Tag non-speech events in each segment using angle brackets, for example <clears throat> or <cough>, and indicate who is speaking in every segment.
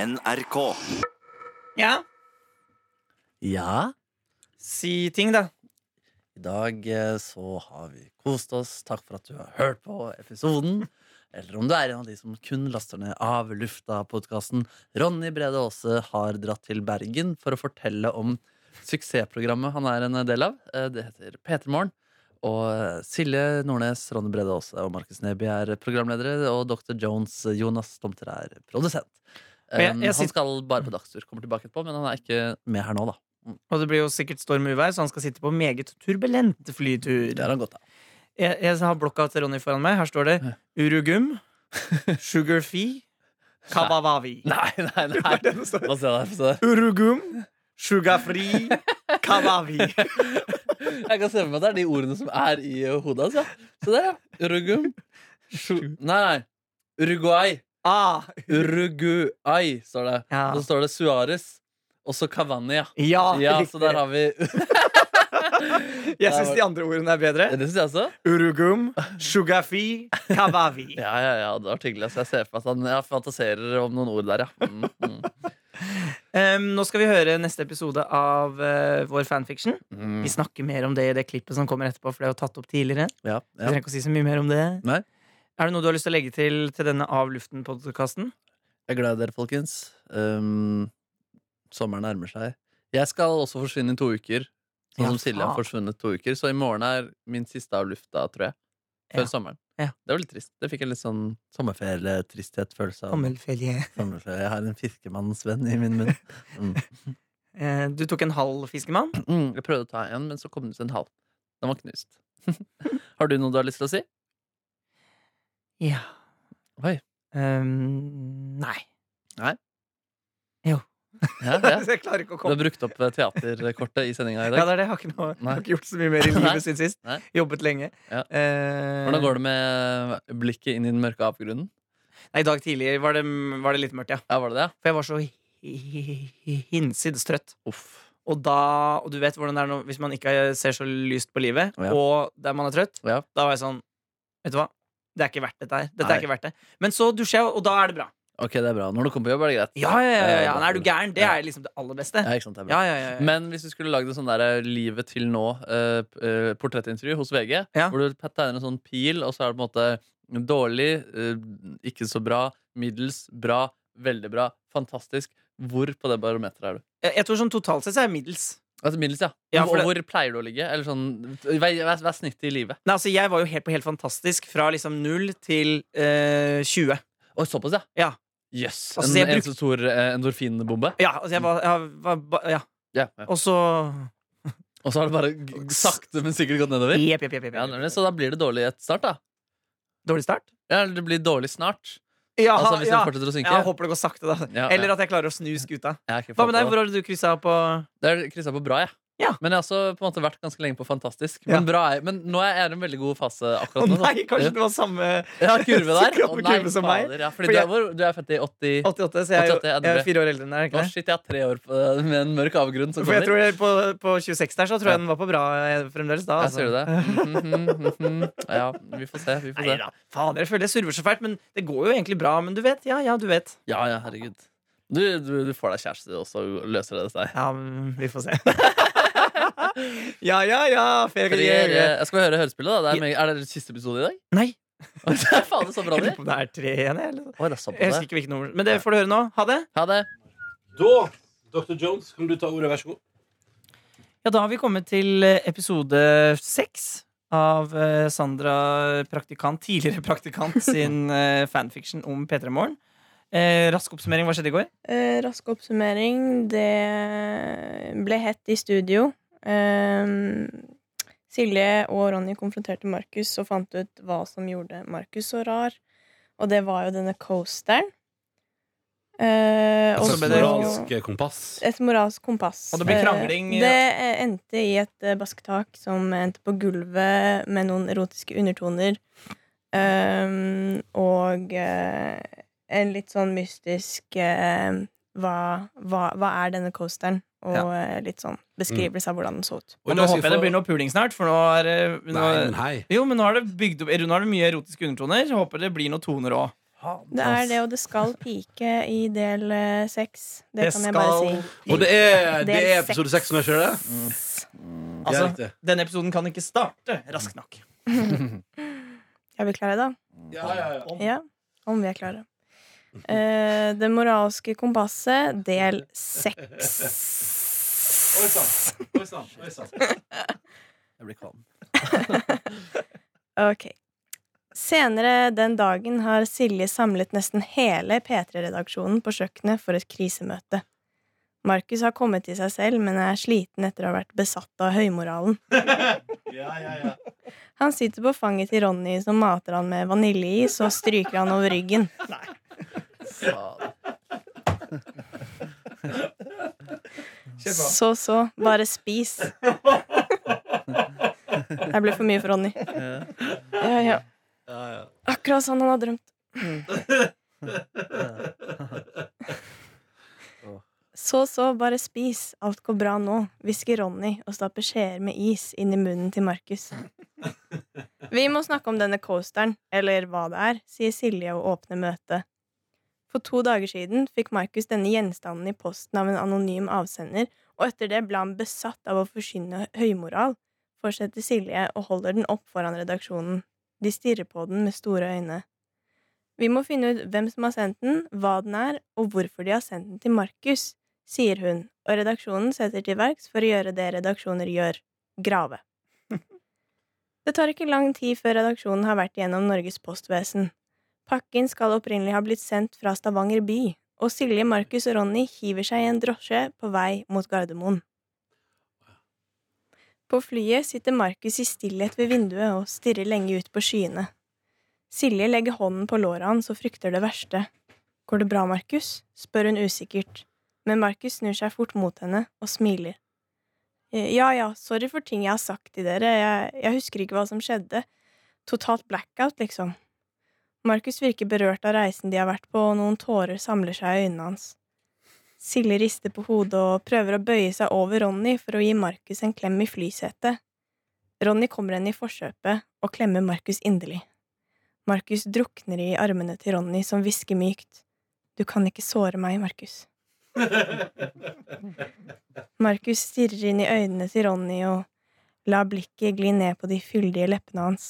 Speaker 1: NRK.
Speaker 2: Ja,
Speaker 3: Ja,
Speaker 2: si ting, da.
Speaker 3: i dag eh, så har vi kost oss. Takk for at du har hørt på episoden. <laughs> Eller om du er en av de som kun laster ned av lufta-podkasten. Ronny Brede Aase har dratt til Bergen for å fortelle om suksessprogrammet han er en del av. Eh, Det heter P3 Morgen. Og eh, Silje Nordnes, Ronny Brede Aase og Markus Neby er programledere. Og Dr. Jones, eh, Jonas Tomter, er produsent.
Speaker 2: Og jeg-
Speaker 3: Eh,
Speaker 2: jeg
Speaker 3: han
Speaker 2: syns-
Speaker 3: skal bare på dagstur, kommer tilbake etterpå, men han er ikke med her nå, da.
Speaker 2: Og det blir jo sikkert storm og uvær, så han skal sitte på meget turbulent flytur.
Speaker 3: Det har han godt av.
Speaker 2: Jeg, jeg har blokka til Ronny foran meg. Her står det
Speaker 3: <laughs>
Speaker 2: Urugum, Sugarfee, Kabavavi.
Speaker 3: Nei, <laughs> nei, nei.
Speaker 2: Det er det det står.
Speaker 3: Hva ser jeg der?
Speaker 2: Urugum, Sugarfree, Kabavi.
Speaker 3: <laughs> Jeg kan se for meg at det er de ordene som er i eh, hodet hans. Ja. Se der, ja. Urugum. Sju- Nei, nei. Uruguay.
Speaker 2: Ah,
Speaker 3: Uruguay, står det.
Speaker 2: Ja.
Speaker 3: Og så står det Suárez. Og så Cavani, ja.
Speaker 2: ja,
Speaker 3: Ja,
Speaker 2: riktig.
Speaker 3: så der har vi
Speaker 2: Jeg syns de andre ordene er bedre.
Speaker 3: Det syns jeg også.
Speaker 2: Urugum, Sugarfee,
Speaker 3: <laughs>
Speaker 2: Kabavi.
Speaker 3: Ja, ja, ja, det var hyggelig. Så jeg ser for meg at han ja, fantaserer om noen ord der, ja. Mm, mm,
Speaker 2: Em, nå skal vi høre neste episode av eh, vår fanfiction.
Speaker 3: mm.
Speaker 2: Vi snakker mer om det i det klippet som kommer etterpå, for det er jo tatt opp tidligere.
Speaker 3: Ja,
Speaker 2: Vi trenger
Speaker 3: ja.
Speaker 2: ikke å si så mye mer om det.
Speaker 3: Nei.
Speaker 2: Er det noe du har lyst til å legge til til denne Av luften-podkasten?
Speaker 3: Jeg er glad i dere, folkens. Um, sommeren nærmer seg. Jeg skal også forsvinne i to uker. Sånn
Speaker 2: Ja,
Speaker 3: som Silje har
Speaker 2: faen.
Speaker 3: forsvunnet to uker. Så i morgen er min siste av lufta, tror jeg. Før
Speaker 2: Ja.
Speaker 3: sommeren.
Speaker 2: Ja.
Speaker 3: Det var litt trist. Det fikk en litt sånn sommerferietristhet-følelse. av. Sommerferie. Jeg har en fiskemannsvenn i min munn. Mm.
Speaker 2: Eh, Du tok en halv
Speaker 3: <clears throat>
Speaker 2: fiskemann.
Speaker 3: Mm, jeg prøvde å ta en, men så kom det ut en halv. Den var knust. <laughs> har du noe du har lyst til å si?
Speaker 2: Ja.
Speaker 3: Oi.
Speaker 2: Em, Ehm, nei.
Speaker 3: Ja, <laughs> ja.
Speaker 2: Så jeg klarer ikke å
Speaker 3: Du har
Speaker 2: komme
Speaker 3: brukt opp eh, teaterkortet i sendinga i
Speaker 2: ja,
Speaker 3: dag.
Speaker 2: det er det. Jeg har ikke, noe, jeg
Speaker 3: Nei.
Speaker 2: har ikke gjort så mye mer i
Speaker 3: <laughs> Nei.
Speaker 2: livet siden sist.
Speaker 3: Nei.
Speaker 2: Jobbet lenge. Eh,
Speaker 3: Ja. Hvordan går det med blikket inn i den mørke avgrunnen?
Speaker 2: Nei, I dag tidlig var det, var det litt mørkt, ja.
Speaker 3: Ja, var det det?
Speaker 2: For jeg var så hi- hinsides trøtt.
Speaker 3: Uff.
Speaker 2: Og, da, og du vet hvordan det er nå, hvis man ikke ser så lyst på livet,
Speaker 3: Ja.
Speaker 2: og der man er trøtt.
Speaker 3: Ja.
Speaker 2: Da var jeg sånn Vet du hva? Det er ikke verdt dette her. Dette
Speaker 3: Nei.
Speaker 2: er ikke verdt det. Men så dusjer jeg, og da er det bra.
Speaker 3: Ok, det er bra. Når du kommer på jobb, er det greit.
Speaker 2: Ja, ja, ja, ja, ja.
Speaker 3: Eh,
Speaker 2: Nei, er du gæren? Det
Speaker 3: Ja.
Speaker 2: er liksom det aller beste.
Speaker 3: Ja, ikke sant, det er bra.
Speaker 2: Ja, ja, ja, ja.
Speaker 3: Men hvis du skulle lagd en sånn der eh, livet til nå eh, p- eh, portrettintervju hos VG,
Speaker 2: Ja.
Speaker 3: hvor du pe- tegner en sånn pil, og så er det på en måte dårlig, eh, ikke så bra, middels, bra, veldig bra, fantastisk. Hvor på det barometeret er du?
Speaker 2: Jeg- Jeg tror sånn totalt sett så er jeg middels.
Speaker 3: Altså middels, ja.
Speaker 2: Ja, for
Speaker 3: og
Speaker 2: det-
Speaker 3: hvor pleier du å ligge? Eller sånn, hva hva- hva er snittet i livet?
Speaker 2: Nei, altså Jeg var jo helt på helt fantastisk fra liksom null til eh, 20.
Speaker 3: Oi, såpass, ja.
Speaker 2: Ja.
Speaker 3: Jøss.
Speaker 2: Altså,
Speaker 3: en,
Speaker 2: jeg bruk-
Speaker 3: en så stor eh, endorfinbombe.
Speaker 2: Ja, altså jeg var, jeg var ba- Ja.
Speaker 3: Ja, ja.
Speaker 2: Og så
Speaker 3: Og så har det bare g- sakte, men sikkert gått nedover.
Speaker 2: Jepp, jepp, jepp. jepp,
Speaker 3: Ja,
Speaker 2: jepp.
Speaker 3: nemlig. så da blir det dårlig et start, da.
Speaker 2: Dårlig start?
Speaker 3: Ja, eller det blir dårlig snart.
Speaker 2: Ja,
Speaker 3: altså hvis
Speaker 2: ja.
Speaker 3: den fortsetter å synke.
Speaker 2: ja, håper det går sakte, da.
Speaker 3: Ja, ja.
Speaker 2: Eller at jeg klarer å snu skuta.
Speaker 3: Jeg er ikke
Speaker 2: Hva med
Speaker 3: fan
Speaker 2: deg?
Speaker 3: på
Speaker 2: Hvor har du kryssa på?
Speaker 3: Det er kryssa på bra, jeg.
Speaker 2: Ja.
Speaker 3: Men jeg har også på en måte vært ganske lenge på fantastisk.
Speaker 2: Ja.
Speaker 3: Men, bra er, men nå er jeg i en veldig god fase
Speaker 2: Å
Speaker 3: akkurat nå.
Speaker 2: nei, kanskje det var samme
Speaker 3: Jeg har kurve
Speaker 2: <laughs>
Speaker 3: der.
Speaker 2: Så
Speaker 3: Å
Speaker 2: gammel
Speaker 3: nei,
Speaker 2: kurve som meg.
Speaker 3: fader, ja. Fordi
Speaker 2: For
Speaker 3: du,
Speaker 2: jeg-
Speaker 3: er, hvor, du er født i 80...
Speaker 2: 88, så jeg er, jo,
Speaker 3: 88, ja, det
Speaker 2: jeg
Speaker 3: ble-
Speaker 2: er fire år eldre enn deg. er
Speaker 3: Å,
Speaker 2: jeg Ikke det?
Speaker 3: shit, jeg har tre år på, med en mørk avgrunn som
Speaker 2: For jeg
Speaker 3: kommer.
Speaker 2: tror jeg på, på 26 der, så tror jeg den var på bra eh, fremdeles da.
Speaker 3: Ja,
Speaker 2: altså.
Speaker 3: ser du det? Mhm, mhm, mhm. Ja, vi får se. Vi får se.
Speaker 2: Neida. Fader, jeg føler jeg server så fælt, men det går jo egentlig bra. Men du vet, ja, ja, du vet.
Speaker 3: Ja, ja, herregud. Du, du, du får deg kjæreste, og så løser det seg.
Speaker 2: Ja, men vi får se. <laughs> ja, ja, ja,
Speaker 3: Jeg,
Speaker 2: ferie.
Speaker 3: eh, jeg skal høre hørespillet. da det er, meg- er det siste episode i dag?
Speaker 2: Nei,
Speaker 3: Det er fader så bra,
Speaker 2: jeg
Speaker 3: det.
Speaker 2: lurer på om det er tre igjen, jeg. eller?
Speaker 3: Oi, det er sånn på
Speaker 2: Jeg husker
Speaker 3: det.
Speaker 2: ikke hvilket nummer. Men det får du høre nå. Ha det.
Speaker 3: Ha det.
Speaker 4: Da, Dr. Jones, kan du ta ordet, vær så god?
Speaker 2: Ja, da har vi kommet til eh, episode seks av eh, Sandra Praktikant, tidligere <laughs> praktikant, sin eh, fanfiction om P3 Morgen. Eh, rask oppsummering, hva skjedde i går?
Speaker 5: Eh, rask oppsummering. Det ble hett i studio. Eh, Silje og Ronny konfronterte Markus og fant ut hva som gjorde Markus så rar. Og det var jo denne coasteren.
Speaker 2: Og
Speaker 4: Et
Speaker 5: Eh,
Speaker 2: så
Speaker 5: og
Speaker 4: slags
Speaker 2: ble det-
Speaker 4: moralsk kompass.
Speaker 5: et moralsk kompass.
Speaker 2: Og det ble krangling,
Speaker 5: Eh, Det eh, endte i et eh, basketak som endte på gulvet med noen erotiske undertoner. Um, og eh, en litt sånn mystisk eh, hva, hva, hva er denne coasteren? Og
Speaker 2: Ja.
Speaker 5: eh, litt sånn beskrivelse av hvordan den så ut.
Speaker 4: Og i
Speaker 2: Og
Speaker 4: dag
Speaker 2: nå
Speaker 4: skal
Speaker 2: håper jeg det
Speaker 4: vi
Speaker 2: blir
Speaker 4: få-
Speaker 2: noe puling snart, for nå er det nå,
Speaker 4: Nei, men hei.
Speaker 2: Jo, men nå har det bygd opp Nå er det mye erotiske undertoner. Håper det blir noen toner òg.
Speaker 3: faen.
Speaker 5: Det er det, og det skal pike i del eh, seks. Det, kan jeg bare si.
Speaker 4: Og det er, det
Speaker 5: Del
Speaker 4: er episode seks Mm. nå, ikke det? Ja,
Speaker 2: Altså,
Speaker 4: riktig.
Speaker 2: denne episoden kan ikke starte raskt nok.
Speaker 5: Er vi klare, da?
Speaker 4: Ja, ja, ja.
Speaker 5: Ja. Om vi er klare. Eh, det moralske kompasset, del
Speaker 4: Oi
Speaker 5: seks.
Speaker 4: sann. Oi sann. Oi sann.
Speaker 3: Jeg blir kvalm.
Speaker 5: Ok. Senere den dagen har Silje samlet nesten hele P3-redaksjonen på kjøkkenet for et krisemøte. Markus har kommet til seg selv, men er sliten etter å ha vært besatt av høymoralen.
Speaker 4: Ja, ja, ja.
Speaker 5: Han sitter på fanget til Ronny, som mater han med vaniljeis og stryker han over ryggen.
Speaker 3: Faen.
Speaker 5: Så, så. Bare spis. Det ble for mye for Ronny. Ja, ja.
Speaker 4: ja, <laughs> ja.
Speaker 5: Akkurat sånn han har drømt. Så så, bare spis. Alt går bra nå, hvisker Ronny og stapper skjeer med is inn i munnen til Markus. Vi må snakke om denne coasteren, eller hva det er, sier Silje og åpner møtet. For to dager siden fikk Markus denne gjenstanden i posten av en anonym avsender, og etter det ble han besatt av å forsyne høymoral, fortsetter Silje og holder den opp foran redaksjonen. De stirrer på den med store øyne. Vi må finne ut hvem som har sendt den, hva den er, og hvorfor de har sendt den til Markus, sier hun, og redaksjonen setter til verks for å gjøre det redaksjoner gjør – grave. Det tar ikke lang tid før redaksjonen har vært gjennom Norges postvesen. Pakken skal opprinnelig ha blitt sendt fra Stavanger by, og Silje, Markus og Ronny hiver seg i en drosje på vei mot Gardermoen. På flyet sitter Markus i stillhet ved vinduet og stirrer lenge ut på skyene. Silje legger hånden på låret hans og frykter det verste. Går det bra, Markus? spør hun usikkert, men Markus snur seg fort mot henne og smiler. «Eh, Ja ja, sorry for ting jeg har sagt til dere, jeg, jeg husker ikke hva som skjedde. Totalt blackout, liksom. Markus virker berørt av reisen de har vært på, og noen tårer samler seg i øynene hans. Silje rister på hodet og prøver å bøye seg over Ronny for å gi Markus en klem i flysetet. Ronny kommer henne i forkjøpet og klemmer Markus inderlig. Markus drukner i armene til Ronny, som hvisker mykt. Du kan ikke såre meg, Markus. Markus stirrer inn i øynene til Ronny og lar blikket gli ned på de fyldige leppene hans.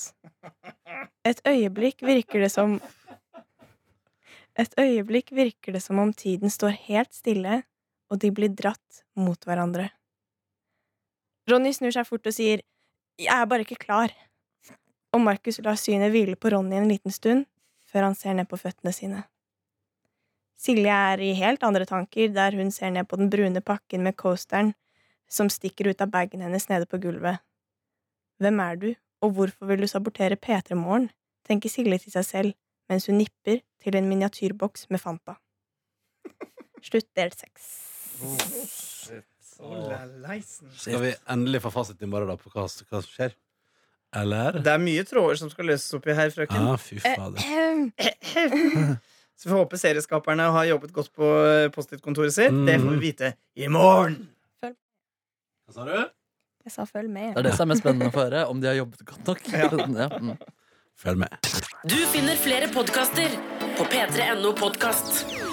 Speaker 5: Et øyeblikk virker det som Et øyeblikk virker det som om tiden står helt stille, og de blir dratt mot hverandre. Ronny snur seg fort og sier, Jeg er bare ikke klar og Markus lar synet hvile på Ronny en liten stund, før han ser ned på føttene sine. Silje er i helt andre tanker, der hun ser ned på den brune pakken med coasteren som stikker ut av bagen hennes nede på gulvet. Hvem er du, og hvorfor vil du sabotere P3 Morgen, tenker Silje til seg selv mens hun nipper til en miniatyrboks med Fanta. Slutt del seks.
Speaker 4: Skal vi endelig få fasit i morgen da på hva, s- hva som skjer? Eller?
Speaker 2: Det er mye tråder som skal løses opp i her, frøken.
Speaker 4: Ja, fy
Speaker 5: Eh,
Speaker 4: fader.
Speaker 5: ehm,
Speaker 2: Så vi får håpe serieskaperne har jobbet godt på eh, Post-It-kontoret sitt.
Speaker 4: Mhm.
Speaker 2: Det får vi vite i morgen!
Speaker 4: Hva sa du?
Speaker 5: Jeg sa følg med.
Speaker 3: Det er det som er mest spennende å få høre, om de har jobbet godt nok. <laughs> Ja, mm.
Speaker 4: Følg med.
Speaker 1: Du finner flere podkaster på p3.no podkast.